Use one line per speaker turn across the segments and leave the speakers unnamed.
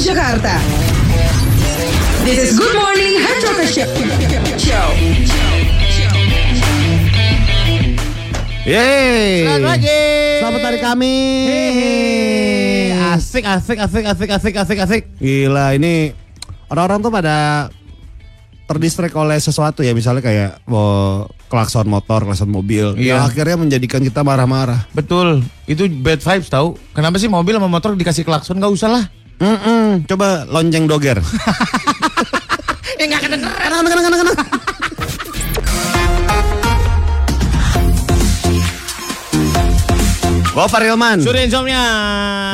Jakarta. This is Good Morning Harcoka Show.
Yeay.
Selamat pagi.
Selamat hari kami.
Asik, asik, asik, asik, asik, asik, asik.
Gila ini orang-orang tuh pada terdistract oleh sesuatu ya misalnya kayak oh, klakson motor, klakson mobil.
Iya.
Yang akhirnya menjadikan kita marah-marah.
Betul, itu bad vibes tahu. Kenapa sih mobil sama motor dikasih klakson nggak usah lah.
Mm-mm. Coba lonceng doger.
Eh nggak kedengeran.
Kenang, kenang, kenang, kenang. Gofar Hilman.
Suri insomnia.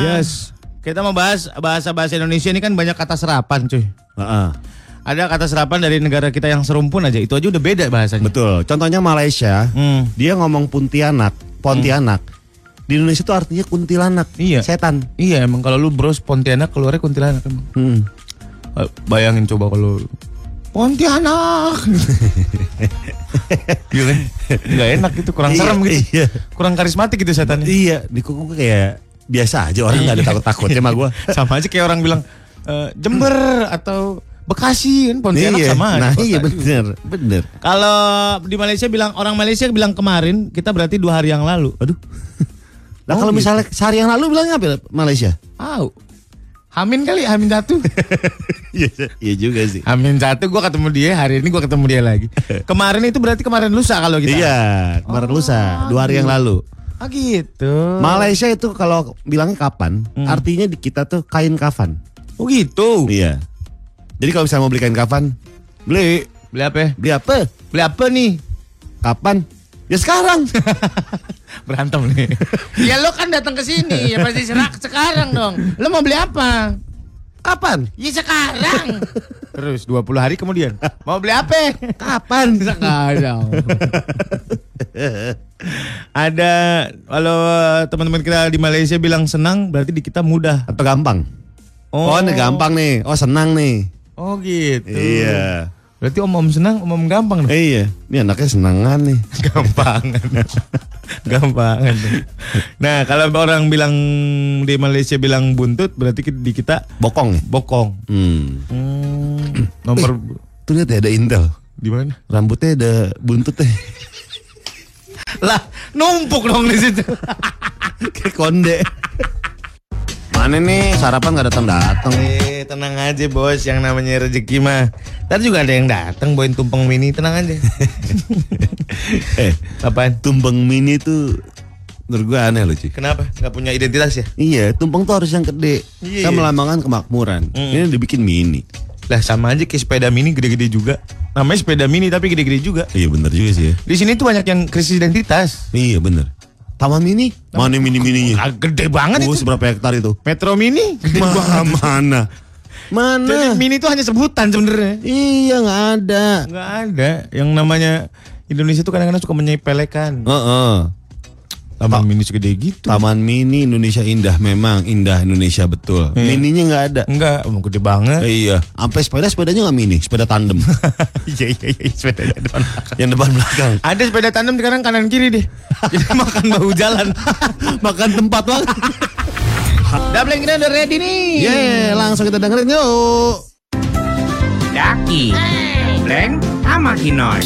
Yes.
Kita mau bahas bahasa-bahasa Indonesia ini kan banyak kata serapan cuy.
Heeh.
Ada kata serapan dari negara kita yang serumpun aja. Itu aja udah beda bahasanya.
Betul. Contohnya Malaysia,
Hmm.
dia ngomong Pontianak, Pontianak. Di Indonesia itu artinya kuntilanak,
Iya.
setan.
Iya emang kalau lu bros Pontianak keluarnya kuntilanak emang.
Hmm.
Eh, Bayangin coba kalau Pontianak. Gila, nggak enak gitu, kurang
Iya,
serem gitu,
iya.
kurang karismatik gitu setannya.
Iya, di kuku kayak biasa aja orang nggak ada takut-takutnya sama gua.
sama aja kayak orang bilang eh, Jember atau Bekasi kan Pontianak
Iya.
sama aja
Nah,
kota.
iya bener, bener.
Kalau di Malaysia bilang orang Malaysia bilang kemarin kita berarti dua hari yang lalu. Aduh,
Nah,
Oh,
kalau
gitu.
misalnya sehari yang lalu bilangnya apa Malaysia?
au. Hamin kali, Hamin satu.
Iya, iya juga sih.
Hamin satu, gue ketemu dia hari ini gue ketemu dia lagi. Kemarin itu berarti kemarin lusa kalau kita.
Iya, kemarin lusa, dua hari yang lalu.
Ah gitu.
Malaysia itu kalau bilangnya kapan, artinya di kita tuh kain kafan.
Oh gitu.
Iya. Jadi kalau misalnya mau beli kain kafan, beli,
Beli apa? ya?
beli apa?
Beli apa nih?
Kapan? Ya sekarang.
Berantem nih. ya lo kan datang ke sini, ya pasti serak sekarang dong. Lo mau beli apa?
Kapan?
Ya sekarang. Terus 20 hari kemudian. Mau beli apa? Kapan? Sekarang. Ada kalau eh, teman-teman kita di Malaysia bilang senang berarti di kita mudah.
Atau gampang? Oh, ini gampang nih. Oh, senang nih.
Oh gitu.
Iya.
Berarti om-om senang, om-om gampang dong.
Eh, iya. Ini anaknya senangan nih.
Gampangan. Gampangan. Nah, kalau orang bilang di Malaysia bilang buntut berarti di kita
Bokong. ya?
bokong.
Hmm.
Hmm. Nomor
Tuh lihat ya ada intel.
di mana?
Rambutnya ada buntutnya.
Lah, numpuk dong di situ.
Kayak konde. Mana nih sarapan gak datang datang.
Eh, tenang aja bos, yang namanya rezeki mah. Ntar juga ada yang datang bawain tumpeng mini, tenang aja.
Eh,
Apaan?
tumpeng mini tuh menurut gue aneh loh cuy.
Kenapa? Gak punya identitas ya?
Iya, tumpeng tuh harus yang gede.
Iya.
Kan melambangkan kemakmuran. Ini dibikin mini.
Lah sama aja kayak sepeda mini gede-gede juga. Namanya sepeda mini tapi gede-gede juga.
Iya bener juga sih ya.
Di sini tuh banyak yang krisis identitas.
Iya bener. Taman mini? Mana mini-mininya?
Ah, gede banget
Oh,
itu.
seberapa hektar itu?
Metro mini gede
Ma-
banget.
mana?
Jadi
Mana?
mini itu hanya sebutan sebenarnya.
Iya nggak ada.
Gak ada yang namanya Indonesia tuh kadang-kadang suka menyepelekan.
Heeh.
Taman mini segede gitu.
Taman Mini Indonesia indah memang indah Indonesia betul. Hmm. Mininya nggak ada.
Enggak, emang gede banget.
Eh, iya, sampai sepeda sepedanya nggak mini, sepeda tandem
Iya iya iya sepedanya depan belakang.
yang depan belakang.
Ada sepeda tandem sekarang kanan kiri deh. Jadi makan bahu jalan.
Makan tempat banget.
Doubling kita udah ready nih.
Yeay, langsung kita dengerin yuk.
Daki, Bleng, sama Kinoy.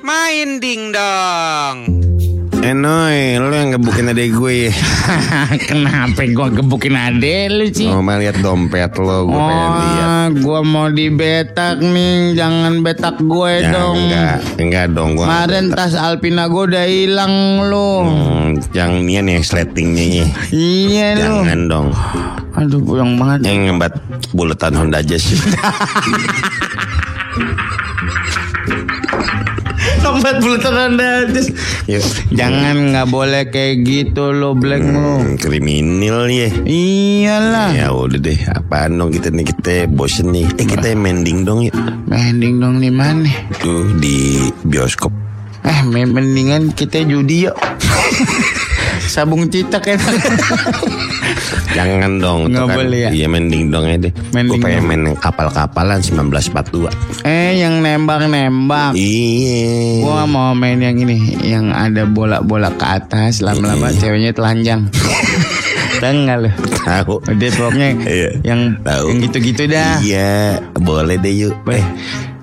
Main ding dong.
Eh,
Enoy, lu yang gebukin adek
ya?
gue.
Kenapa gua gebukin ade lu Ci?
Oh,
Mau lihat dompet lo, gue
Iya. Oh, gua mau dibetak nih, jangan betak gue
Ya,
dong.
enggak dong, gue.
Kemarin tas Alpina gua udah hilang lu.
Hmm.
Hmm,
Yang nian
ya,
yang sletingnya
Iya lu.
dong.
Aduh, puyeng banget.
Yang ngembat buletan Honda Jazz.
Tempat bulu teranda.
Yuk.
Jangan nggak boleh kayak gitu lu, Black lu.
Hmm, kriminal ya.
Iyalah.
Iya.
Ya udah deh, apaan dong kita nih kita bosen nih. Eh kita mending dong yuk.
Mending dong di mana?
Tuh di bioskop.
Eh, me- mendingan kita judi yuk. Sabung citak ya.
Jangan dong.
Nggak
tuh
boleh ya?
Iya mending dong ya deh.
Mending
Gue pengen
dong.
main yang kapal-kapalan 1942.
eh, yang nembak-nembak.
Iya.
Gua mau main
Iya.
yang ini, yang ada bola-bola ke atas, lama-lama ceweknya telanjang. Bang lu.
Tahu.
Udah pokoknya
Iya.
yang
Tahu.
yang gitu-gitu dah.
Iya, boleh deh yuk. Eh,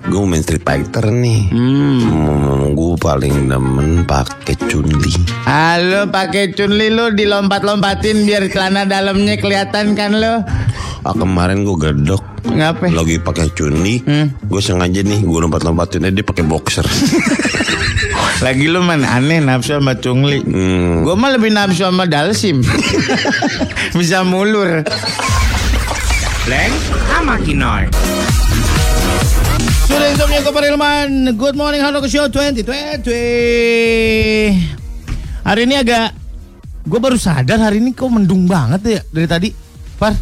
gue main Street Fighter nih.
Hmm.
Hmm, gue paling demen pakai cundi.
Halo pakai cunli lu dilompat-lompatin biar celana dalamnya kelihatan kan lu.
Ah, kemarin gue gedok.
Ngapa?
Lagi pakai cundi, gue sengaja nih gue lompat-lompatin aja dia pakai boxer.
Lagi lu man aneh nafsu sama cungli.
Hmm.
Gue mah lebih nafsu sama dalsim. Bisa mulur.
Leng sama Kinoy.
Sudah insomnia keperilman Good morning Halo ke Show 2020 Hari ini agak Gue baru sadar hari ini kok mendung banget ya Dari tadi Par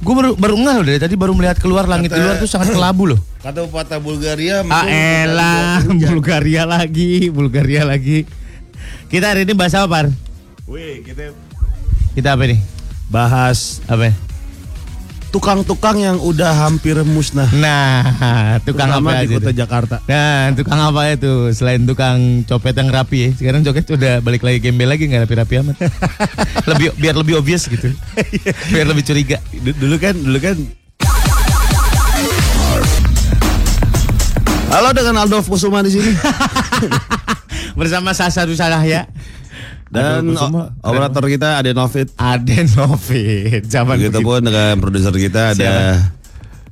Gue baru, baru ngeh loh dari tadi baru melihat keluar langit di luar tuh sangat kelabu loh
Kata patah Bulgaria
Ah
iya,
elah Bulgaria lagi Bulgaria lagi Kita hari ini bahas apa Par?
Wih, kita
Kita apa nih?
bahas
Apa?
tukang-tukang yang udah hampir musnah.
Nah tukang
Terutama
apa
di
aja
kota
tuh?
Jakarta.
Nah, tukang apa itu? Selain tukang copet yang rapi ya. Sekarang copet udah balik lagi gembel lagi nggak rapi-rapi amat. lebih biar lebih obvious gitu.
Iya.
biar lebih curiga.
D- dulu kan dulu kan Halo dengan Aldo Kusuma di sini
Bersama Sasa Rusalah ya.
dan o- operator kita ada Novit.
Aden Novit. Zaman
Begitu
begitu.
pun dengan produser kita ada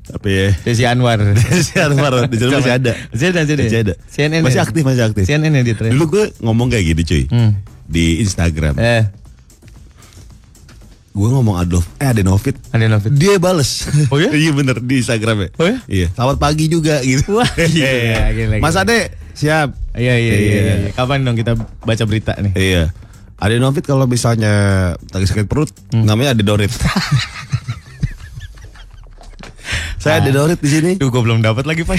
tapi ya.
Desi Anwar.
Desi Anwar, di sana masih ada.
Masih ada, masih ada.
Masih ada.
CNN.
Masih aktif, masih aktif.
CNN ya dia tren.
Dulu gue ngomong kayak gini cuy di Instagram.
Hmm. Eh,
Gue ngomong Adolf, eh ada Novit.
Aden Novit.
Dia bales.
Oh ya?
iya bener di Instagram ya.
Oh ya?
Iya. Selamat pagi juga gitu.
Wah, gila, gila,
Mas
gila.
Ade siap.
Iya, iya, iya.
Iya.
iya. Kapan dong kita baca berita nih?
Iya. Adenovit kalau misalnya lagi sakit perut,
Hmm.
namanya adedorit. Saya
Ah.
adedorit di sini.
Duh, gue belum dapat lagi pak.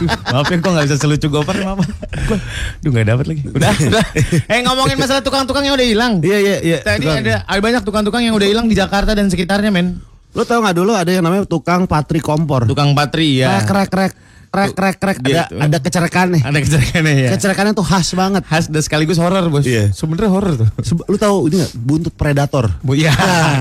Duh, maaf ya, gue nggak bisa selucu gopar maaf. Gue, duh nggak dapat lagi. Udah, udah. Eh ngomongin masalah tukang-tukang yang udah hilang.
Iya iya iya.
Tadi
tukang.
ada, ada banyak tukang-tukang yang udah hilang di Jakarta dan sekitarnya men.
Lo tau nggak dulu ada yang namanya tukang patri kompor. Nah,
Tukang patri ya.
Krek krek krek krek krek krek. Ada
Gitu.
ada kecerakannya.
Ada keceriaannya ya.
Kecerakannya tuh khas banget.
Khas dan sekaligus horor bos.
Iya.
Sebenernya horor tuh.
Sebe- Lu tahu ini nggak buntut predator?
Bu, ya,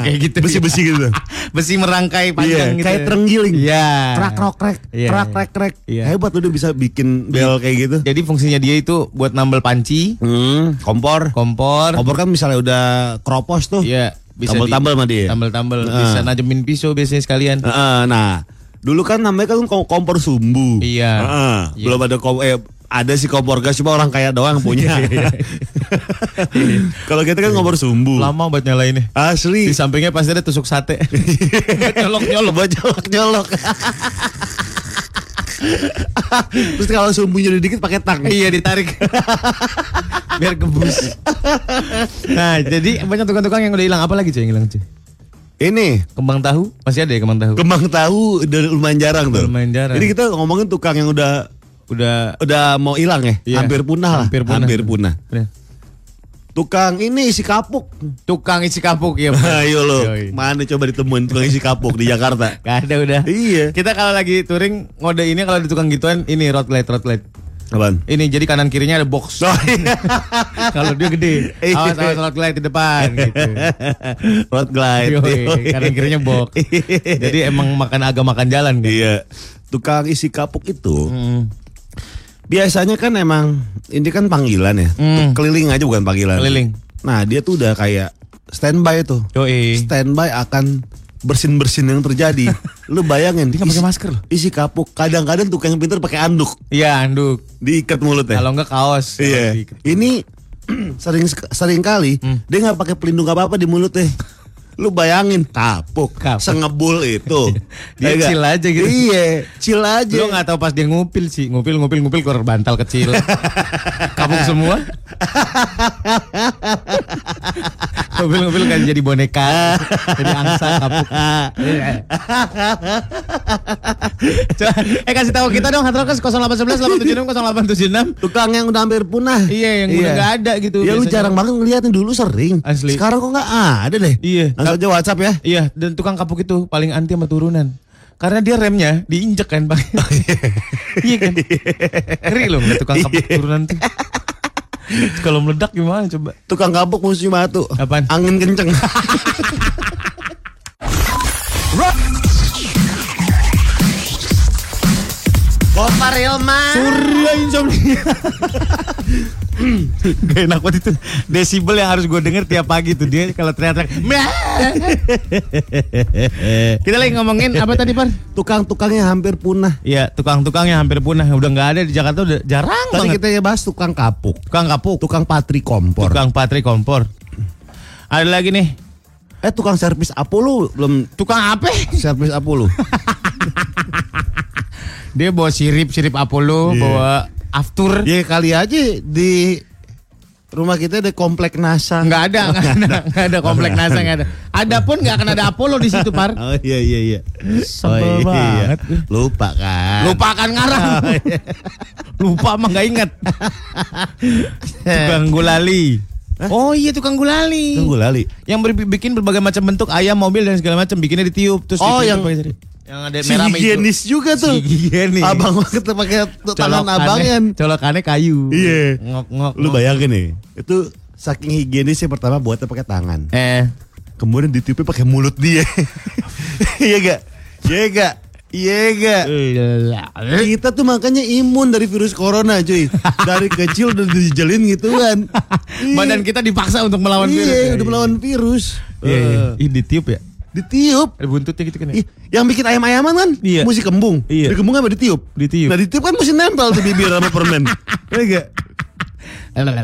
kayak gitu.
Besi-besi gitu.
Besi merangkai
Iya,
panjang gitu.
kayak
ya.
terenggiling.
Iya.
Krak krok krek,
Iya,
krak
iya.
krek krek.
Iya.
Hebat lu dia bisa bikin bel kayak gitu.
Jadi fungsinya dia itu buat nambel panci,
Hmm, kompor.
kompor,
Kompor kan misalnya udah kropos tuh.
Iya, bisa di-
Tambal-tambal sama dia. Ah.
tambel-tambel,
Heeh.
bisa najemin pisau biasanya sekalian.
Heeh, nah, dulu kan namanya kan kom- kompor sumbu.
Iya.
Heeh,
Iya.
Belum ada kom eh ada sih kompor gas cuma orang kaya doang punya.
Iya,
Kalau kita kan kompor sumbu.
Lama buat nyalainnya.
Asli.
Di sampingnya pasti ada tusuk sate. nyolok nyolok
nyolok nyolok. Terus kalau sumbunya udah dikit pakai tang.
Iya ditarik. Biar kebus. Nah, jadi banyak tukang-tukang yang udah hilang. Apa lagi cuy yang hilang cuy?
Ini
Kembang tahu? Masih ada ya kembang tahu?
kembang tahu udah lumayan jarang tuh.
Lumayan jarang.
Jadi kita ngomongin tukang yang udah
udah
udah mau hilang ya,
Iya.
hampir punah lah.
Hampir punah. Udah.
Tukang ini isi kapuk.
Tukang isi kapuk ya.
Ayo lo,
Yoi.
mana coba ditemuin tukang isi kapuk di Jakarta?
Gak ada udah.
Iya.
Kita kalau lagi touring ngode ini kalau di tukang gituan ini road light road light.
Apaan?
Ini jadi kanan kirinya ada box.
Oh, iya.
kalau dia gede,
Iya.
awas awas road light di depan gitu.
Road glide.
Yoi,
Yoi.
kanan kirinya box. Jadi emang makan agak makan jalan kan.
Iya. Tukang isi kapuk itu
Hmm.
biasanya kan emang ini kan panggilan ya.
Hmm.
Tuk- Keliling aja bukan panggilan.
Keliling.
Nah, dia tuh udah kayak standby tuh.
Yoi.
Standby akan bersin-bersin yang terjadi. lu bayangin.
Dia nggak pakai
isi-
masker loh.
Isi kapuk. Kadang-kadang tukang yang pintar pakai anduk
Iya, anduk.
diikat mulutnya.
Kalau enggak kaos.
Eh.
Kalau
Iya.
diikat.
Ini sering sering kali
Hmm.
dia nggak pakai pelindung apa apa di mulutnya. Lu bayangin kapuk,
Kapuk.
sengebul itu. Ya
Dia
nggak?
chill aja gitu.
Iya, chill aja.
Lu nggak tahu pas dia ngupil sih, ngupil ngupil ngupil keluar bantal kecil. Kapuk semua. ngupil ngupil kan jadi boneka, jadi angsa kapuk.
Iya.
Coba, eh kasih tahu kita dong Hatrokes 0811 0876 0876.
Tukang yang udah hampir punah.
Iya, yang udah nggak ada gitu
Ya lu
biasanya.
jarang banget ngeliatin dulu sering.
Asli.
Sekarang kok nggak ada deh.
Iya.
Langsung aja WhatsApp ya.
Iya, dan tukang kapuk itu paling anti sama turunan. Karena dia remnya diinjek kan, Iya Bang. iya kan? Ngeri loh ngeliat tukang kapuk turunan tuh. Iya. Kalau meledak gimana coba?
Tukang kapuk musuh batu.
Apaan?
Angin kenceng.
Gopar Hilman.
Surya Iya, insomnia. Gak enak banget itu Desibel yang harus gue denger tiap pagi tuh Dia kalau teriak-teriak "Meh."
Kita lagi ngomongin apa tadi, Par?
Tukang-tukangnya hampir punah.
Iya tukang-tukangnya hampir punah Udah gak ada di Jakarta udah jarang
Tadi
banget
kita ya bahas tukang kapuk,
Tukang kapuk
tukang patri kompor.
Tukang patri kompor Ada lagi nih
Eh tukang servis Apollo belum
Tukang apa?
servis Apollo.
Dia bawa sirip-sirip Apollo Bawa aftur
ya kali aja di rumah kita ada komplek NASA.
Enggak ada, enggak
Iya.
ada, enggak ada komplek NASA enggak ada. Ada pun enggak akan ada Apollo di situ, Par.
Oh iya iya iya.
Sebel banget.
Lupa kan.
Lupakan ngarang.
Ah, iya. Lupa mah gak inget Tukang gulali Oh iya tukang gulali
Tunggu lali.
yang ber- bikin berbagai macam bentuk ayam, mobil dan segala macam bikinnya ditiup terus
Oh,
bikinnya
yang-
pakai sirip. yang ada
Si
merah sama hijau.
higienis juga tuh.
Si higienis.
Abang banget pakai t- tangan
Colokannya-
abangan.
Colokannya kayu.
Iya.
Ngok ngok.
Lu bayangin nih. Itu saking higienisnya pertama buatnya pakai tangan.
Eh.
Kemudian ditiupnya pakai mulut dia. Iya gak? Iya gak? Iya gak?
Eh.
Kita tuh makanya imun dari virus corona cuy. Dari kecil udah dijalin gitu kan.
Badan kita dipaksa untuk melawan
Iya,
virus.
udah melawan virus.
Iya, iya.
Eh,
Ih, ditiup ya.
Ditiup.
Ada buntutnya gitu kan ya.
Ih, yang bikin ayam-ayaman kan
Iya.
mesti kembung.
Iya.
Di kembung apa ditiup?
Ditiup.
Nah, ditiup kan mesti nempel di bibir sama permen. Iya enggak?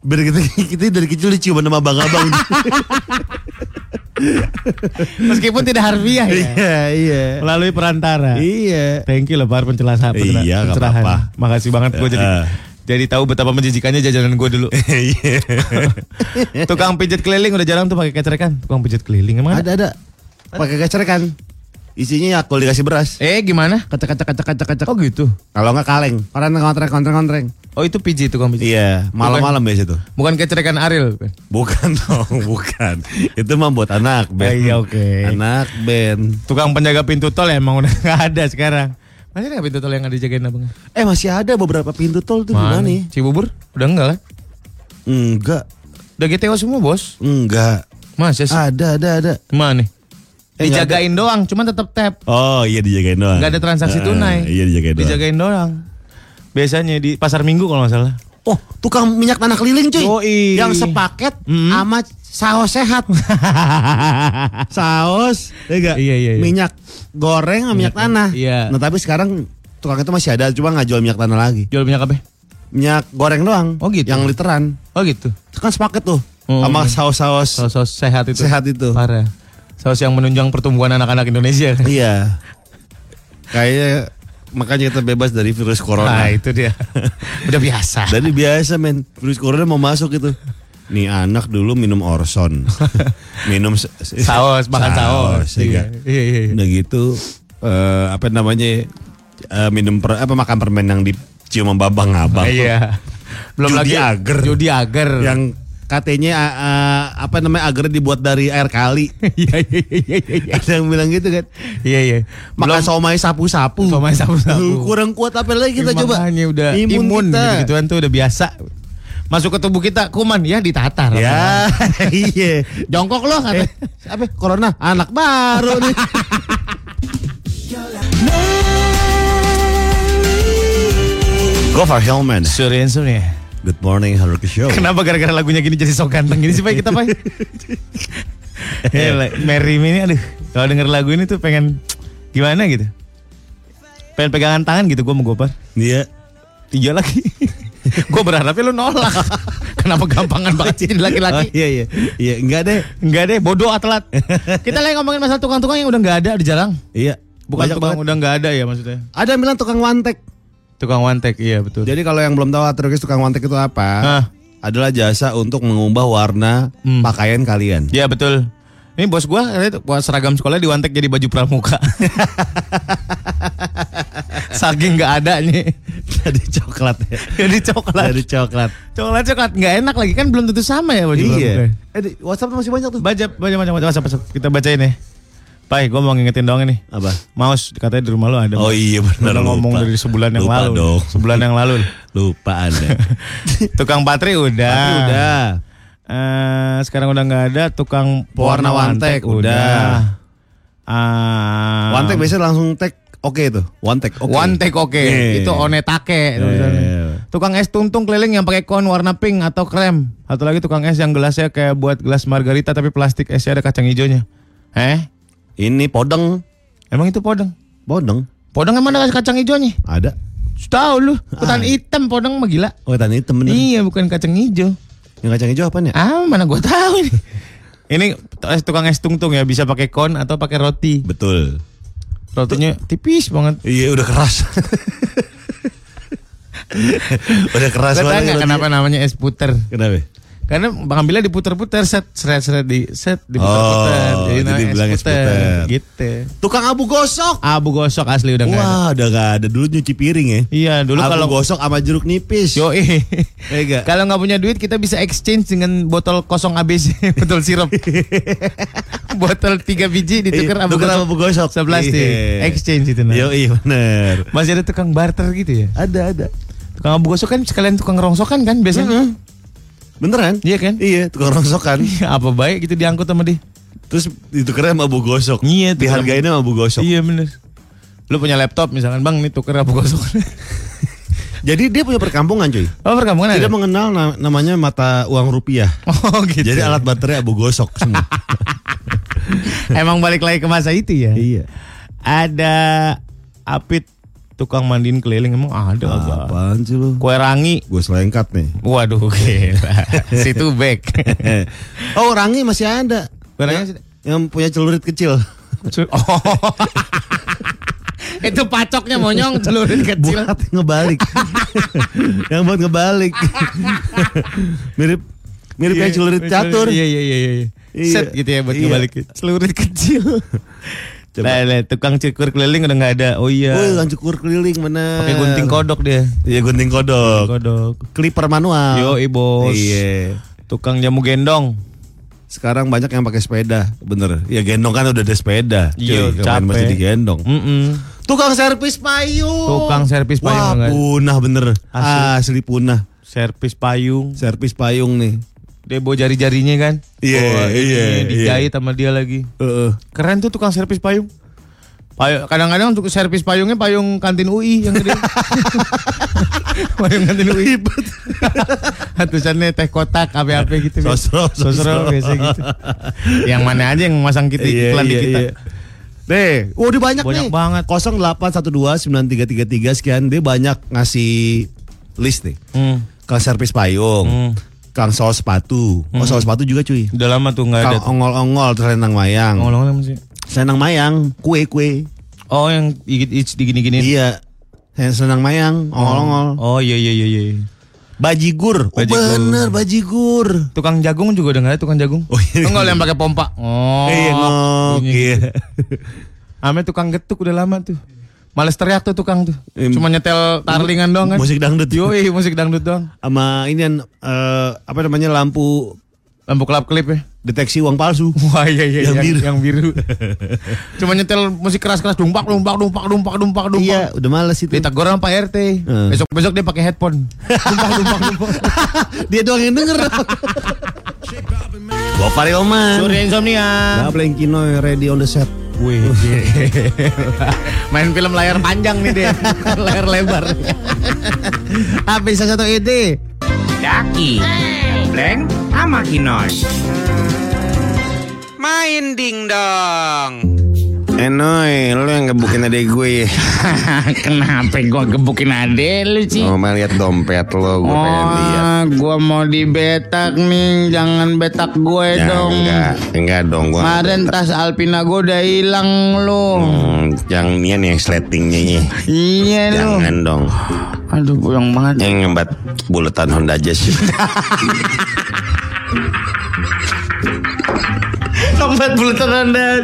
Biar kita, kita dari kecil diciuman sama abang-abang.
Meskipun tidak harfiah ya.
Iya, iya.
Melalui perantara.
Iya.
Thank you lah Par penjelasan. penjelasan-
Iya, nggak
pencerahan.
apa-apa.
Makasih banget gue jadi
Heeh.
jadi tahu betapa menjijikannya jajanan gue dulu. Iya. tukang pijat keliling udah jarang tuh pakai kecerekan. Tukang pijat keliling emang ada?
Ada ada. Pakai kacer kan. Isinya yakul dikasih beras.
Eh gimana?
Kacak kacak kacak kacak kacak.
Oh gitu.
Kalau nggak kaleng. Orang kontreng kontreng kontreng.
Oh itu pijit tukang pijit.
Iya, malam-malam biasa tuh.
Bukan kecerekan Ariel.
Bukan dong, bukan. Itu mah buat anak band.
Oh, iya, oke.
Anak band.
Tukang penjaga pintu tol emang udah nggak ada sekarang. Masih nggak pintu tol yang ada jagain abang?
Eh masih ada beberapa pintu tol tuh gimana nih?
Cibubur? Udah enggak kan?
Enggak,
Udah GTO semua bos.
enggak.
Masa sih?
Ada, ada, ada.
Mana?
Ah. Eh, nggak
Dijagain doang, cuman tetap tap.
Oh iya dijagain doang.
Nggak ada
Ah,
transaksi tunai.
Iya dijagain doang.
Dijagain doang. Biasanya di pasar minggu kalau nggak salah.
Oh tukang minyak tanah keliling cuy.
Yoi.
Yang sepaket
Mm.
sama saus sehat. saus, ya nggak?
Iya, iya, iya.
Minyak goreng sama minyak, tanah.
Iya.
Nah tapi sekarang tukang itu masih ada, cuma nggak jual minyak tanah lagi.
Jual minyak apa?
Minyak goreng doang.
Oh, gitu.
Yang literan.
Oh gitu.
Itu kan sepaket tuh.
Hmm.
Sama saus-saus.
Saus saus sehat itu.
Sehat itu.
Parah. Saus yang menunjang pertumbuhan anak-anak Indonesia.
Iya. Kayaknya makanya kita bebas dari virus corona.
Nah itu dia. Udah biasa.
Dari biasa men, virus corona mau masuk itu. Nih anak dulu minum Orson. minum se- se-
Saus, makan saus.
ya
Iya,
kan?
iya, iya, iya.
Udah gitu eh, apa namanya? eh, minum per- apa makan permen yang dicium sama babang abang.
Iya. Belum
Judi
lagi
agar.
Judi agar.
Yang katanya eh, eh, apa namanya agar dibuat dari air kali.
Iya iya iya iya, iya.
Ada yang bilang gitu kan.
Iya iya.
Makan somai sapu-sapu.
Somai sapu-sapu. Iya,
Lu Kurang kuat apa lagi kita
Makanya
coba.
udah imun, gitu gituan tuh udah biasa. Masuk ke tubuh kita kuman ya ditatar.
Ya, iya. Eh.
Jongkok loh kata.
Apa corona anak baru nih. Gofar Hellman.
Surya Insomnia.
Good morning Haruki Show.
Kenapa gara-gara lagunya gini jadi sok ganteng gini sih Pak kita Pak?
Eh.
Hele, Mary Me ini aduh kalau denger lagu ini tuh pengen gimana gitu. Pengen pegangan tangan gitu gue mau gopar.
Iya.
Tiga lagi. gue berharapnya lu nolak. Kenapa gampangan banget sih jadi
Oh,
laki-laki?
iya iya. Iya, enggak deh.
Enggak deh, bodoh atlet. Kita lagi ngomongin masalah tukang-tukang yang udah nggak ada, udah jarang.
Iya.
Bukan
Banyak
tukang
banget.
udah nggak ada ya maksudnya.
Ada yang bilang tukang wantek.
Tukang wantek, iya betul.
Jadi kalau yang belum tahu Haruki tukang wantek itu apa?
Hah.
Adalah jasa untuk mengubah warna
Hmm.
pakaian kalian.
Iya betul. Ini bos gua katanya tuh, buat seragam sekolah di wantek jadi baju pramuka. Saking nggak ada nih.
Jadi coklat ya.
Jadi coklat.
Jadi coklat.
Coklat coklat nggak enak lagi kan belum tentu sama ya baju pramuka.
Eh, di Iya. WhatsApp masih banyak tuh.
Baca baca baca baca baca, baca. kita bacain ya. Pai, gue mau ngingetin dong ini.
Apa?
Maus katanya di rumah lu ada.
Oh iya benar
Udah
lupa.
ngomong dari sebulan yang
Lupa
lalu.
dong.
Sebulan yang lalu.
Lupa Anda.
Tukang patri udah.
Patri udah.
Eh, sekarang udah nggak ada tukang
Pewarna
pewarna
wantek,
udah. Ah,
one take biasanya langsung tag oke tuh. One take oke. Iya,
One take oke.
Yeah.
Itu onetake
Iya,
tulisannya. Tukang es tuntung keliling yang pakai kon warna pink atau krem. Satu lagi tukang es yang gelasnya kayak buat gelas margarita tapi plastik esnya ada kacang hijaunya. Eh?
Ini podeng.
Emang itu podeng?
Podeng.
Podeng emang ada kacang hijaunya?
Ada.
Tahu lu, hutan hitam podeng mah gila.
Oh tadi itu bener.
Iya, bukan kacang hijau.
Yang kacang hijau apaan ya?
Ah, mana gua tahu ini. ini es tukang es tungtung ya bisa pakai kon atau pakai roti.
Betul.
Rotinya tipis banget.
Iya udah keras. udah keras
Gak
banget.
nggak
rotinya.
kenapa namanya es puter?
Kenapa?
Karena pengambilnya diputer-puter set seret seret di set diputer-puter.
Oh, jadi
namanya
bilang es puter.
Gitu.
Tukang abu gosok.
Abu gosok asli udah nggak ada.
Wah udah gak ada dulu nyuci piring ya.
Ah, Iya dulu
abu
kalau
gosok sama jeruk nipis. Iya
Yo kan
Ega.
Kalau nggak punya duit kita bisa exchange dengan botol kosong ABC, botol sirup. botol tiga biji
Iya,
ditukar kan abu
tukar
gosok.
abu gosok.
Sebelas
Iya.
deh. Exchange itu nah.
Yo iya bener.
Masih ada tukang barter gitu ya.
Ada ada.
Tukang abu gosok kan sekalian tukang rongsokan kan biasanya.
Beneran?
Iya kan?
Iya, tukang rongsokan.
Apa baik gitu diangkut sama dia.
Terus ditukernya sama abu gosok.
Iya, tukeran-
Dihargainnya sama abu gosok.
Iya bener. Lu punya laptop misalkan bang, nih tuker abu gosok.
Jadi dia punya perkampungan cuy.
oh perkampungan ada?
Tidak mengenal na- namanya mata uang rupiah.
Oh gitu.
Jadi alat baterai abu gosok semua.
Emang balik lagi ke masa itu ya.
iya.
Ada apit tukang mandiin keliling emang ada apa?
Apaan sih lu?
Kue rangi.
Gue Ah, selengkat nih.
Waduh gila. Situ back.
oh, Rangi masih ada.
Kue rangi sih-
Yang punya celurit kecil.
Oh. Itu pacoknya monyong celurit kecil.
Buat ngebalik. yang buat ngebalik. mirip mirip kayak celurit catur.
Iya iya iya iya.
Iya.
Set gitu ya buat
Iya.
ngebalikin. Celurit kecil.
Coba.
Lah, lah, tukang cukur keliling udah nggak ada. Oh iya.
Oh, yang cukur keliling mana?
Pakai gunting kodok dia.
Iya, gunting kodok.
Kodok.
Clipper manual.
Yo, bos.
Iya.
Tukang jamu gendong.
Sekarang banyak yang pakai sepeda, bener. Ya gendong kan udah ada sepeda.
Iya,
Cuy, kemarin
capek.
masih digendong.
Mm-mm.
Tukang servis payung.
Tukang servis
Wah,
payung, enggak?
punah bener. Asli, punah.
Servis payung.
Servis payung nih.
Debo jari-jarinya kan.
Iya,
ini
iya,
Dijahit sama dia lagi.
Heeh.
Keren tuh tukang servis payung. Payung kadang-kadang untuk servis payungnya payung kantin UI yang gede. payung kantin UI. Hatusannya teh kotak apa-apa gitu.
Sosro, sosro.
sosro biasa gitu. yang mana aja yang masang kita iklan di kita.
Deh, waduh oh, banyak,
Iya,
nih.
Banyak banget.
08129333 sekian dia banyak ngasih list nih.
Hmm.
Kang servis payung. Kang sol sepatu. Oh, sol sepatu juga cuy.
Udah lama tuh nggak Hmm. ada.
Kang ongol-ongol terus renang mayang.
Ngolong-ngolong apa sih.
Senang mayang, kue-kue.
Oh yang digigit digini-gini.
Iya. Saya senang mayang, ongol-ongol.
Oh iya iya iya iya.
Bajigur. Oh,
Bajigur.
bener, bajigur.
Tukang jagung juga udah nggak ada tukang jagung.
Oh, iya.
Enggak yang pakai pompa. Oh.
Iya, ngok. Iya.
Ame tukang getuk udah lama tuh. Males teriak tuh tukang tuh.
Em,
Cuma nyetel tarlingan doang kan.
Musik dangdut.
Yoi, musik dangdut doang.
Sama ini yang, eh, apa namanya lampu
Lampu kelap klip ya.
deteksi uang palsu.
Wah iya iya
Yang biru.
Yang biru. Cuma nyetel musik keras-keras dumpak dumpak dumpak dumpak dumpak dumpak.
Iya, udah males itu.
Ditegur sama Pak RT.
Hmm.
Besok-besok dia pakai headphone. Dumpak dumpak dumpak.
Dia doang yang denger. Bapak Rioman.
Sore insomnia.
Nah, playing Kino ready on the set.
Wih. Main film layar panjang nih dia. layar lebar. Habis satu
E
ide.
Daki, Blank, sama Kinoy. Main dingdong.
Enoy, lu yang gebukin
E
adek gue ya.
Kenapa gua gebukin adek lu sih?
Mau lihat dompet lo, gue pengen lihat.
Oh, gua mau dibetak nih, jangan betak gue
Ya,
dong.
enggak, enggak dong gue.
Kemarin tas Alpina gua udah hilang lu.
Hmm, jangan nih yang sletingnya nih.
Iya lu.
Jangan dong.
Aduh, boyong banget.
Yang ngembat buletan Honda Jazz.
Tempat bulatan Anda.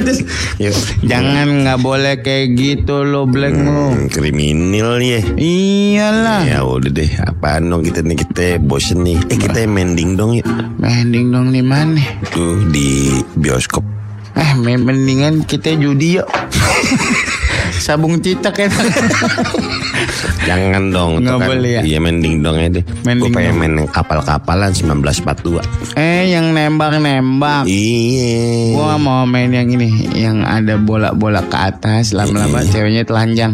Yuk.
Jangan nggak boleh kayak gitu lu, Black lu.
Hmm, kriminal ya.
Iyalah.
Ya udah deh, apaan dong kita nih kita bosen nih. Eh kita mending dong yuk.
Mending dong di mana?
Tuh di bioskop.
Eh me- mendingan kita judi yuk Sabung cicak ya
Jangan dong.
Nggak
tuh kan.
boleh ya?
Iya main dingdong aja deh.
Main
Gue pengen
dingdong.
main yang kapal-kapalan 1942.
Eh yang nembak-nembak
Iya.
Gua mau main yang ini Yang ada bola-bola ke atas Lama-lama
Iya.
ceweknya telanjang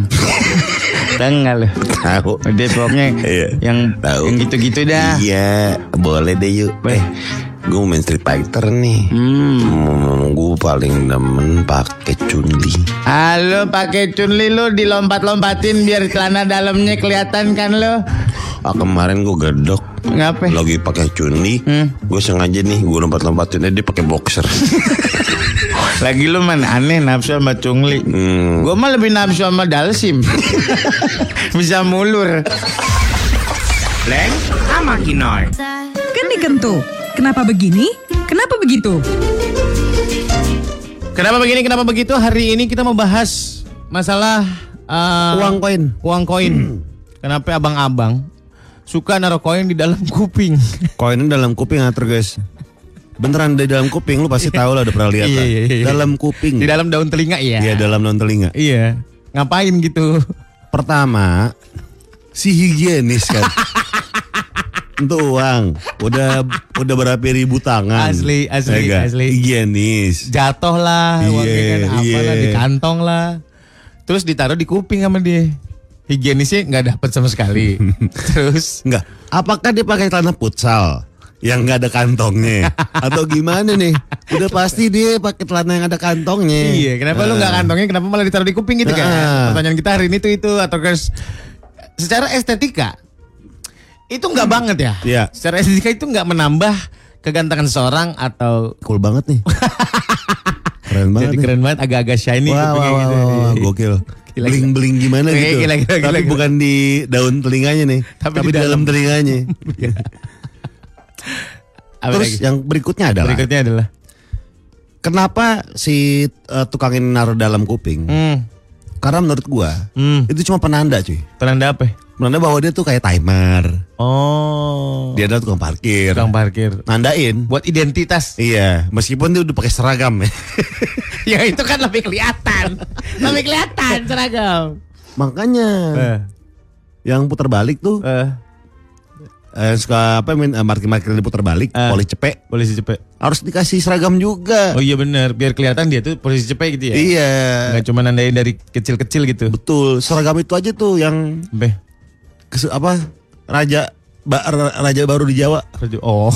Tengah lu
Tahu.
Udah pokoknya
Iya.
yang,
Tahu.
yang gitu-gitu dah
Iya, boleh deh yuk. Eh, gue mau main Street Fighter nih. Hmm. Gue paling demen pakai cundi.
Halo pakai cunli lu dilompat-lompatin biar celana dalamnya kelihatan kan lu
Ah, kemarin gue gedok.
Ngapa?
Lagi pakai cundi, gue sengaja nih gue lompat-lompatin aja, dia pakai boxer.
Lagi lu man aneh nafsu sama cungli
Hmm.
Gue mah lebih nafsu sama dalsim Bisa mulur
Blank sama Kinoy.
Kan dikentu. Kenapa begini? Kenapa begitu?
Kenapa begini, kenapa begitu? Hari ini kita membahas masalah eh,
Uang koin.
Uang koin. Kenapa abang-abang suka naruh koin di dalam kuping?
Koin dalam kuping atur guys. Beneran di dalam kuping lu pasti tahu lah udah pernah lihat.
Iya,
lah.
iya, iya.
Dalam kuping.
Di dalam daun telinga ya?
Iya dalam non telinga.
Iya. Ngapain gitu?
Pertama si higienis kan. Untuk uang udah udah berapa ribu tangan.
Asli,
Ya
asli,
nggak?
asli.
Higienis.
Jatuh lah, uangnya
Iya,
kan apalah,
iya.
di kantong lah. Terus ditaruh di kuping sama dia. Higienisnya nggak dapet sama sekali. Terus
Enggak. Apakah dia pakai celana futsal yang nggak ada kantongnya atau gimana nih? Udah pasti dia pakai celana yang ada kantongnya. Eh,
Iya, kenapa lu nggak kantongin? Kenapa malah ditaruh di kuping gitu kan?
Ah.
Pertanyaan kita hari ini tuh itu atau guys secara estetika itu nggak banget ya?
Iya.
Secara estetika itu nggak menambah kegantengan seorang atau
Cool banget nih. Keren banget.
jadi
nih.
keren banget agak-agak shiny
Wah,
kupingnya
wah, wah,
gitu.
wah, wah, gokil.
Gila,
Bling-bling gimana
Gila,
gitu.
gila, gila,
Tapi
gila.
bukan di daun telinganya nih.
Tapi
Tapi,
di
di dalam telinganya.
Apa gitu?
Terus
lagi?
yang berikutnya adalah
berikutnya adalah
kenapa si eh, tukang ini naruh dalam kuping?
hmm,
Karena menurut gua
Hmm.
itu cuma penanda, cuy.
penanda apa? ya?
Penanda bahwa dia tuh kayak timer.
Oh,
Dia adalah tukang parkir.
tukang parkir.
Nandain.
Buat identitas.
Iya, meskipun dia udah pakai seragam ya.
ya itu kan lebih kelihatan. lebih kelihatan seragam.
Makanya
Eh,
yang putar balik tuh
eh,
eh, suka apa min eh, markir-markir diputar balik,
Eh.
oleh cepet
polisi cepet.
harus dikasih seragam juga.
Oh iya benar, biar kelihatan dia tuh polisi cepet gitu ya.
Iya.
Nggak cuma nandain dari kecil-kecil gitu.
Betul, seragam itu aja tuh yang
Beh.
kesu- apa raja ba- ra- raja baru di Jawa.
Oh.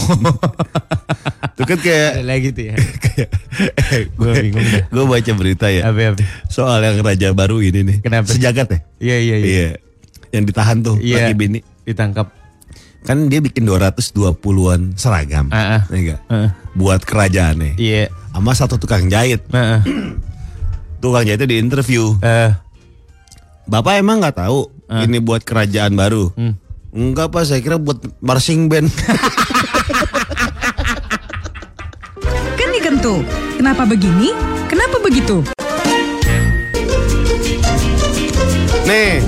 Itu kan
Ada
kayak
lagi tuh ya. Gue bingung dah.
gue baca berita ya
Apa apa.
soal yang raja baru ini nih.
Kenapa?
Sejagat ya?
Iya iya iya.
Iya. Yang ditahan tuh lagi
Iya.
bini.
Ditangkap.
Kan dia bikin 220-an seragam.
Ah, ah.
Iya nggak?
Heeh.
Buat kerajaannya.
Iya.
Sama satu tukang jahit.
Heeh.
Tukang jahitnya di interview.
Eh,
Bapak emang nggak tahu ini buat kerajaan baru?
Hmm.
Enggak pak, saya kira buat marching band.
Kan dikentu. Kenapa begini? Kenapa begitu?
Nih,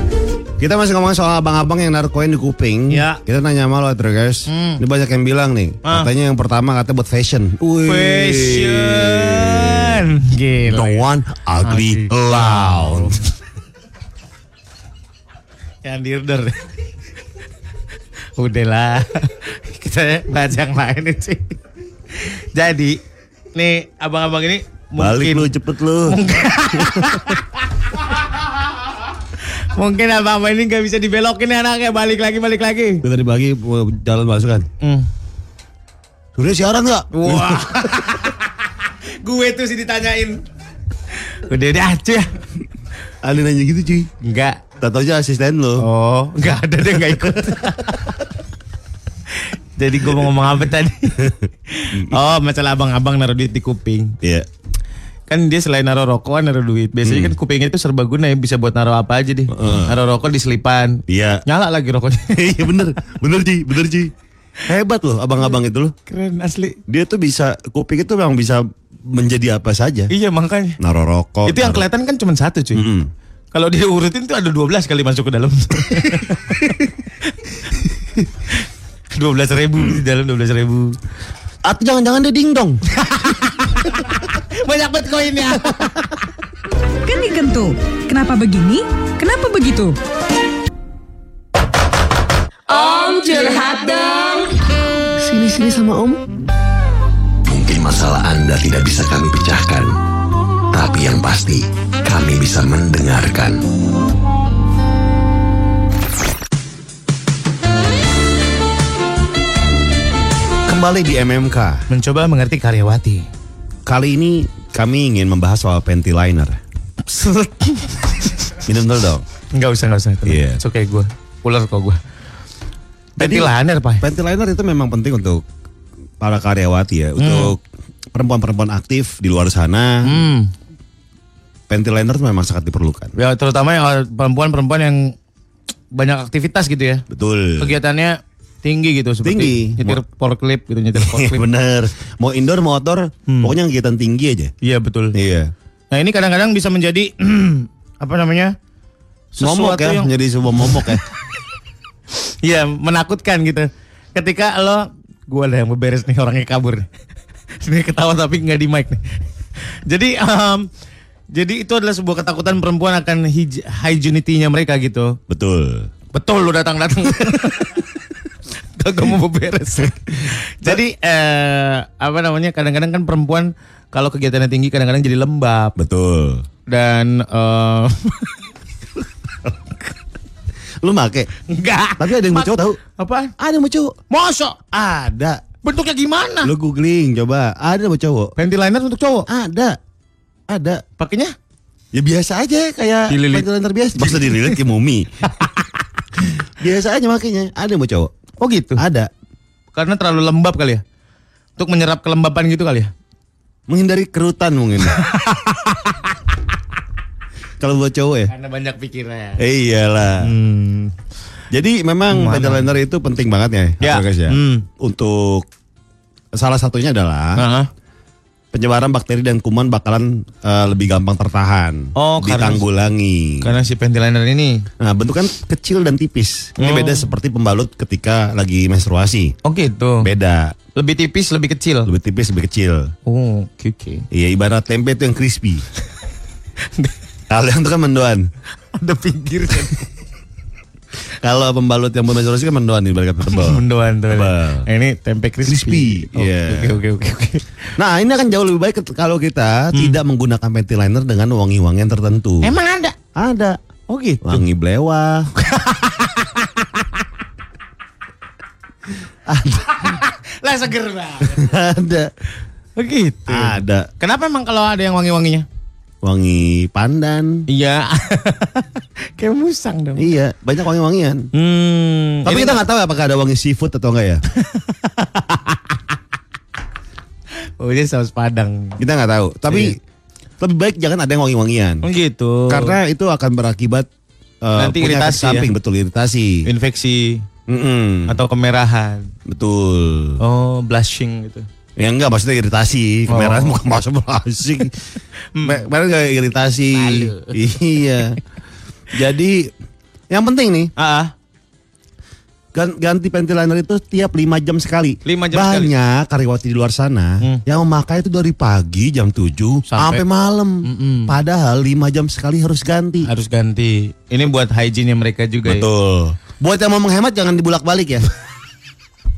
kita masih ngomongin soal abang-abang yang naruh koin di kuping.
Ya. Hmm.
Kita nanya sama lo Tro, guys. Ini banyak yang bilang nih. Katanya yang pertama katanya buat fashion. Wih.
Fashion.
The
Gila. ya.
one ugly loud.
Yang dirder. Udah lah. Kita bahas yang lain sih. Jadi, nih abang-abang ini
Balik lu
mungkin
cepet lu.
mungkin abang-abang ini nggak bisa dibelokin nih anaknya balik lagi balik lagi.
Gue tadi pagi uh, jalan masukan.
Hmm.
Sudah siaran nggak?
Wah. gue tuh sih ditanyain. Udah ya. udah aja.
Ada nanya gitu cuy.
Enggak.
Tato aja asisten lo.
Oh, enggak ada deh enggak ikut. Jadi gue mau ngomong apa tadi? oh, masalah abang-abang naruh duit di kuping.
Iya.
Kan dia selain naruh rokok, naruh duit.
Hmm.
Biasanya kan kupingnya itu serbaguna ya, bisa buat naruh apa aja deh. Naruh rokok di selipan.
Iya.
Nyala lagi rokoknya.
Iya bener, bener cuy, bener cuy. Hebat loh abang-abang itu loh.
Keren asli.
Dia tuh bisa, kuping itu memang bisa menjadi apa saja.
Iya, makanya.
Naro rokok.
itu yang
naro-
kelihatan kan cuma satu, cuy.
Mm-mm.
Kalau diurutin tuh ada 12 kali masuk ke dalam. 12 ribu di dalam 12 ribu.
Atau jangan-jangan dia dingdong.
Banyak banget koinnya.
Kan dikentu. Kenapa begini? Kenapa begitu? Om curhat dong.
Sini-sini sama om.
Mungkin masalah Anda tidak bisa kami pecahkan, tapi yang pasti kami bisa mendengarkan.
Kembali di MMK.
Mencoba mengerti karyawati.
Kali ini kami ingin membahas soal panty liner. Minum dulu dong.
Enggak usah, enggak usah.
Iya.
It's okay gue. Ular kok gue.
Jadi-
Jadi laner, Pak.
Panty liner itu memang penting untuk para karyawati ya, untuk perempuan-perempuan aktif di luar sana.
Hmm.
Panty liner itu memang sangat diperlukan.
Ya terutama yang perempuan-perempuan yang banyak aktivitas gitu ya.
Betul.
Kegiatannya tinggi gitu seperti
Tinggi. Iya,
nyetir forklift gitu nyetir forklift.
Bener. Mau indoor, mau outdoor,
Hmm.
pokoknya kegiatan tinggi aja.
Iya betul.
Iya.
Nah ini kadang-kadang bisa menjadi apa namanya?
Momok
Sesuatu
ya,
yang
menjadi sebuah momok ya.
Iya menakutkan gitu. Ketika lo, gue ada yang beberes nih orangnya kabur. nih. Sini ketawa tapi nggak di mic nih. Jadi, em, jadi itu adalah sebuah ketakutan perempuan akan hij- hygienity-nya mereka gitu.
Betul.
Betul lo datang datang. Kagak mau beberes. jadi eh, apa namanya? Kadang-kadang kan perempuan kalau kegiatannya tinggi kadang-kadang jadi lembab
Betul.
dan eh,
Lu make.
enggak.
Tapi ada yang mau
Mat-
cowok tahu?
Apa?
Ada yang mau cowok.
Mosok.
Ada.
Bentuknya gimana?
Lu googling coba. Ada yang mau cowok.
Panty liner untuk cowok.
Ada. Ada.
Pakainya?
Ya biasa aja kayak
Dililit.
pantilan terbiasa. Maksudnya dililit kayak mumi. biasa aja makanya. Ada yang mau cowok.
Oh gitu.
Ada.
Karena terlalu lembab kali ya. Untuk menyerap kelembapan gitu kali ya.
Menghindari kerutan mungkin. Kalau buat cowok ya.
Karena banyak pikiran.
Eh, Iyalah.
Hmm.
Jadi memang panty liner itu penting banget ya,
Ya.
Mas Bagas ya.
Hmm.
Untuk salah satunya adalah
Heeh.
penyebaran bakteri dan kuman bakalan eh, lebih gampang tertahan,
Oh, karena-
ditanggulangi.
Karena si panty liner ini.
Nah, bentukan kecil dan tipis. Ini
Oh.
beda seperti pembalut ketika lagi menstruasi.
Oh gitu.
Beda,
Lebih tipis, lebih kecil.
lebih tipis, lebih kecil.
Oh, oke. oke.
Iya, ibarat tempe itu yang crispy. Kalau yang itu kan mendoan.
Ada pinggir kan?
Kalau pembalut yang menstruasi kan mendoan ibarat kata tebal.
Mendoan tuh.
Tebal.
Nah, ini tempe crispy. Oh,
Crispy, iya.
Oke, oke, oke, oke.
Nah ini akan jauh lebih baik ket- kalau kita tidak menggunakan panty liner dengan wangi-wangian tertentu.
Hmm. Emang ada?
Ada.
Oh gitu.
Wangi belewah.
Lah seger banget.
ada.
Oh gitu.
Ada.
Kenapa emang kalau ada yang wangi-wanginya?
Wangi pandan.
Iya. Kayak musang dong.
Iya, banyak wangi-wangian.
Hmm.
Tapi kita nggak tahu ya apakah ada wangi seafood atau enggak ya.
Oh, ini saus padang.
Kita nggak tahu. Tapi lebih baik jangan ada yang wangi-wangian.
Iya. Oh gitu.
Karena itu akan berakibat eh,
Nanti
punya
iritasi
efek samping
ya?
betul iritasi.
infeksi
Mm-mm.
atau kemerahan.
Betul.
Hmm. Oh, blushing gitu.
Ya enggak maksudnya iritasi Kemerahan
Oh. Hmm.
bukan masa blushing Me- Kemarin kayak iritasi Iya Jadi Yang penting nih
Ah,
gan- Ganti panty liner itu tiap 5 jam sekali
Lima jam sekali.
Banyak karyawati di luar sana
Hmm.
Yang memakai itu dari pagi jam 7 Sampai
Sampai-
malam
Mm-mm.
Padahal 5 jam sekali harus ganti
harus ganti. Ini buat hygiene mereka juga ya.
Betul Buat yang mau menghemat jangan dibulak balik ya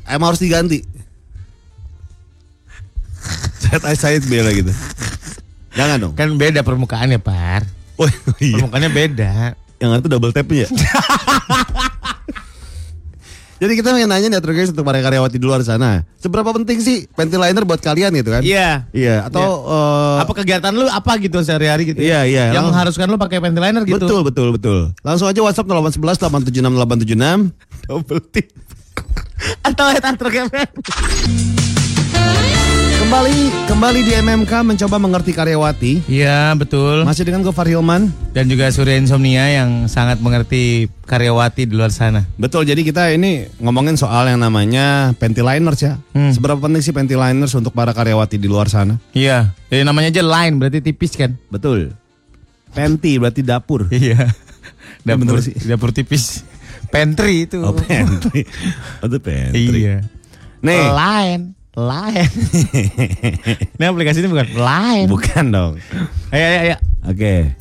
Emang harus diganti Said Said bela gitu Jangan dong
Kan beda permukaannya, Par.
Oh iya.
Permukaannya beda.
Yang itu double tap ya. Jadi kita pengen nanya nih Atro guys untuk para karyawati di luar sana. Seberapa penting sih panty liner buat kalian gitu kan?
Iya.
Iya, atau eh,
Apa kegiatan lu apa gitu sehari-hari gitu?
Iya, iya.
Yang
Langsung-
mengharuskan lu pakai panty liner gitu.
Betul, betul, betul. Langsung aja WhatsApp 0811 876 876. Double tip.
Atau lihat antar kemen.
Kembali kembali di MMK mencoba mengerti karyawati.
Iya, betul.
Masih dengan gue Farhilman.
Dan juga Surya Insomnia yang sangat mengerti karyawati di luar sana.
Betul, jadi kita ini ngomongin soal yang namanya panty liners ya.
Hmm.
Seberapa penting sih panty liners untuk para karyawati di luar sana?
Iya. Jadi namanya aja line berarti tipis kan?
Betul. Panty berarti dapur.
Iya.
Ya, bener
Dapur,
sih.
dapur tipis. Pantry itu.
Oh, pantry. Oh, itu pantry.
Iya.
Nih,
Line. lain. ini aplikasi ini bukan lain.
Bukan dong.
Ayo, ayo, ayo.
Oke.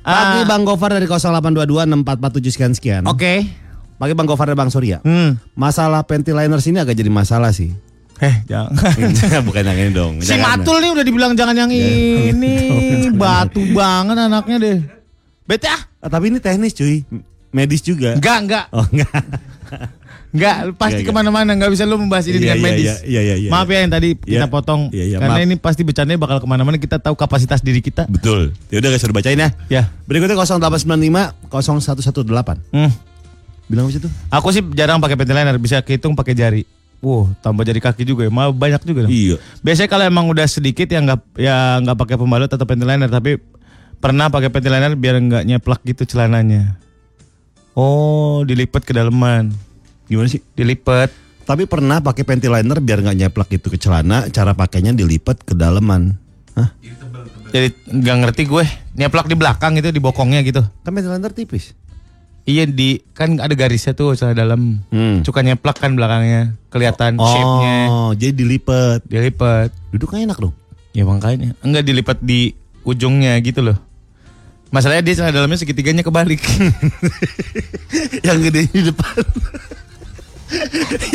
Pagi
Ah,
Bang Gofar dari 0822 6447 sekian sekian.
Oke.
Pagi Bang Gofar dan Bang Surya.
Hmm.
Masalah panty liners ini agak jadi masalah sih.
Eh, jangan.
Bukan yang ini dong.
Si
Jangan.
Matul nih udah dibilang jangan yang ini. Batu banget anaknya deh. Bete ah.
Ah, tapi ini teknis cuy, medis juga.
Enggak, enggak.
Oh enggak.
Enggak, pasti
Enggak, enggak.
kemana-mana. Enggak bisa lu membahas
Iya,
ini dengan
iya,
medis.
iya, iya, iya, iya.
Maaf ya yang tadi kita
Iya.
potong.
Iya, iya,
karena
maaf.
ini pasti bercandanya bakal kemana-mana. Kita tahu kapasitas diri kita.
Betul. Ya udah gak suruh bacain ya.
Ya.
Berikutnya 0895 0118.
Hmm.
Bilang apa sih tuh?
Aku sih jarang pakai panty liner, bisa kehitung pakai jari. Wow, tambah jari kaki juga ya, mah banyak juga dong.
Iya.
Biasanya kalau emang udah sedikit ya nggak ya nggak pakai pembalut atau panty liner, tapi pernah pakai panty liner biar nggak nyeplak gitu celananya. Oh, dilipat ke daleman,
Gimana sih?
dilipat.
Tapi pernah pakai panty liner biar nggak nyeplak itu ke celana, cara pakainya dilipat ke daleman. Hah?
Jadi nggak ngerti gue, nyeplak di belakang itu di bokongnya gitu.
Kan panty liner tipis.
Iya di kan ada garisnya tuh celana dalam.
Hmm.
Cuka nyeplak kan belakangnya, kelihatan shape-nya.
Oh, jadi dilipat.
Dilipat.
Duduknya enak dong.
Ya makanya Enggak dilipat di ujungnya gitu loh Masalahnya dia celana dalamnya segitiganya kebalik
Yang gede di depan.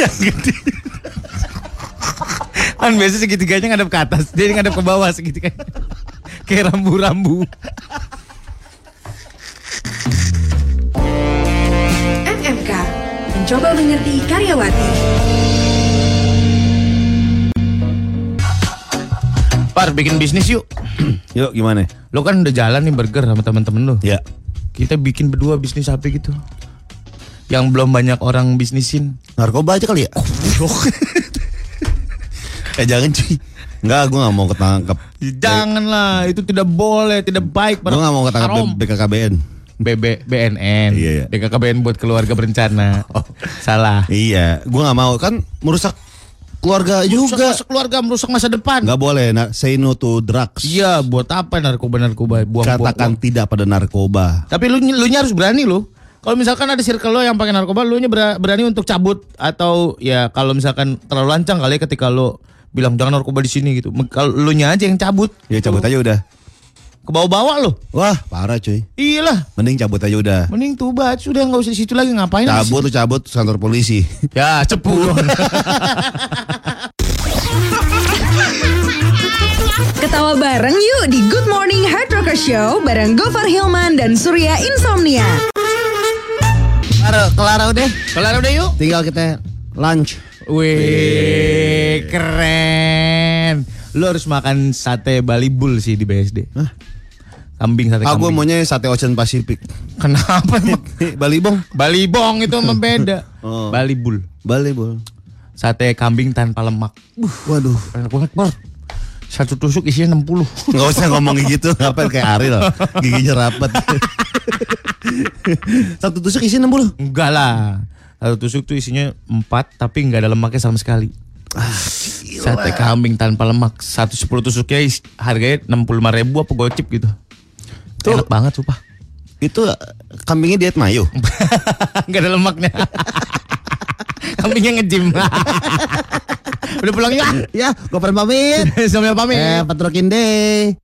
Yang gede.
Kan biasanya segitiganya ngadep ke atas Dia ngadep ke bawah segitiganya Kayak rambu-rambu
MMK mencoba mengerti karyawati.
Par bikin bisnis yuk
Yuk gimana?
Lo kan udah jalan nih burger sama temen-temen lo
Ya.
Kita bikin berdua bisnis apa gitu Yang belum banyak orang bisnisin
Narkoba aja kali ya?
Oh,
eh jangan cuy. Enggak, gue gak mau ketangkep.
Janganlah itu tidak boleh Tidak baik
Gue gak mau ketangkep
Haram.
B- BKKBN.
BB, BNN
Iya, Oh. iya.
BKKBN buat keluarga berencana Salah
Iya, gue gak mau. Kan merusak keluarga juga.
Merusak keluarga merusak masa depan
Gak boleh, nah, say no to drugs.
Iya, buat apa narkoba-narkoba buang-buang.
Katakan
uang.
tidak pada narkoba.
Tapi lu lu nya harus berani lu. Kalau misalkan ada circle lo yang pakai narkoba, lu nya bera- berani untuk cabut atau ya kalau misalkan terlalu lancang kali ya ketika lo bilang jangan narkoba di sini gitu. Me- Kalau lu nya aja yang cabut.
Ya cabut aja udah.
Ke bawa-bawa lo.
Wah, parah cuy.
Iyalah,
Mending cabut aja udah.
mending tubat sudah nggak usah di situ lagi ngapain? lu di
Cabut tuh cabut kantor polisi.
situ? Ya, cepu.
Ketawa bareng yuk di Good Morning Hard Rocker Show bareng Gofar Hilman dan Surya Insomnia.
Kelar, kelar udah.
Kelar udah yuk.
Tinggal kita lunch.
Wih, keren. Lu harus makan sate balibul sih di BSD. Hah? Kambing sate
Aku Ah,
kambing.
maunya sate Ocean Pacific.
Kenapa emang?
Balibong.
Balibong itu emang beda.
Oh.
Balibul.
Balibol.
Sate kambing tanpa lemak.
Waduh.
Enak banget, Bro. Satu tusuk isinya 60.
Gak usah ngomong gitu, ngapain kayak Ariel. Giginya rapet. Satu tusuk isi 60.
Enggak lah. Satu tusuk tuh isinya 4 tapi nggak ada lemaknya sama sekali. Sate kambing tanpa lemak. Satu sepuluh tusuknya is- harganya 65 ribu apa gocip gitu.
Tuh.
Enak banget sumpah.
Itu eh, kambingnya diet mayo.
Gak ada lemaknya. Kambingnya ngejim. Udah pulang Eh,
ya,
ya.
gue pamit.
Sampai pamit.
Eh, Patrokin deh.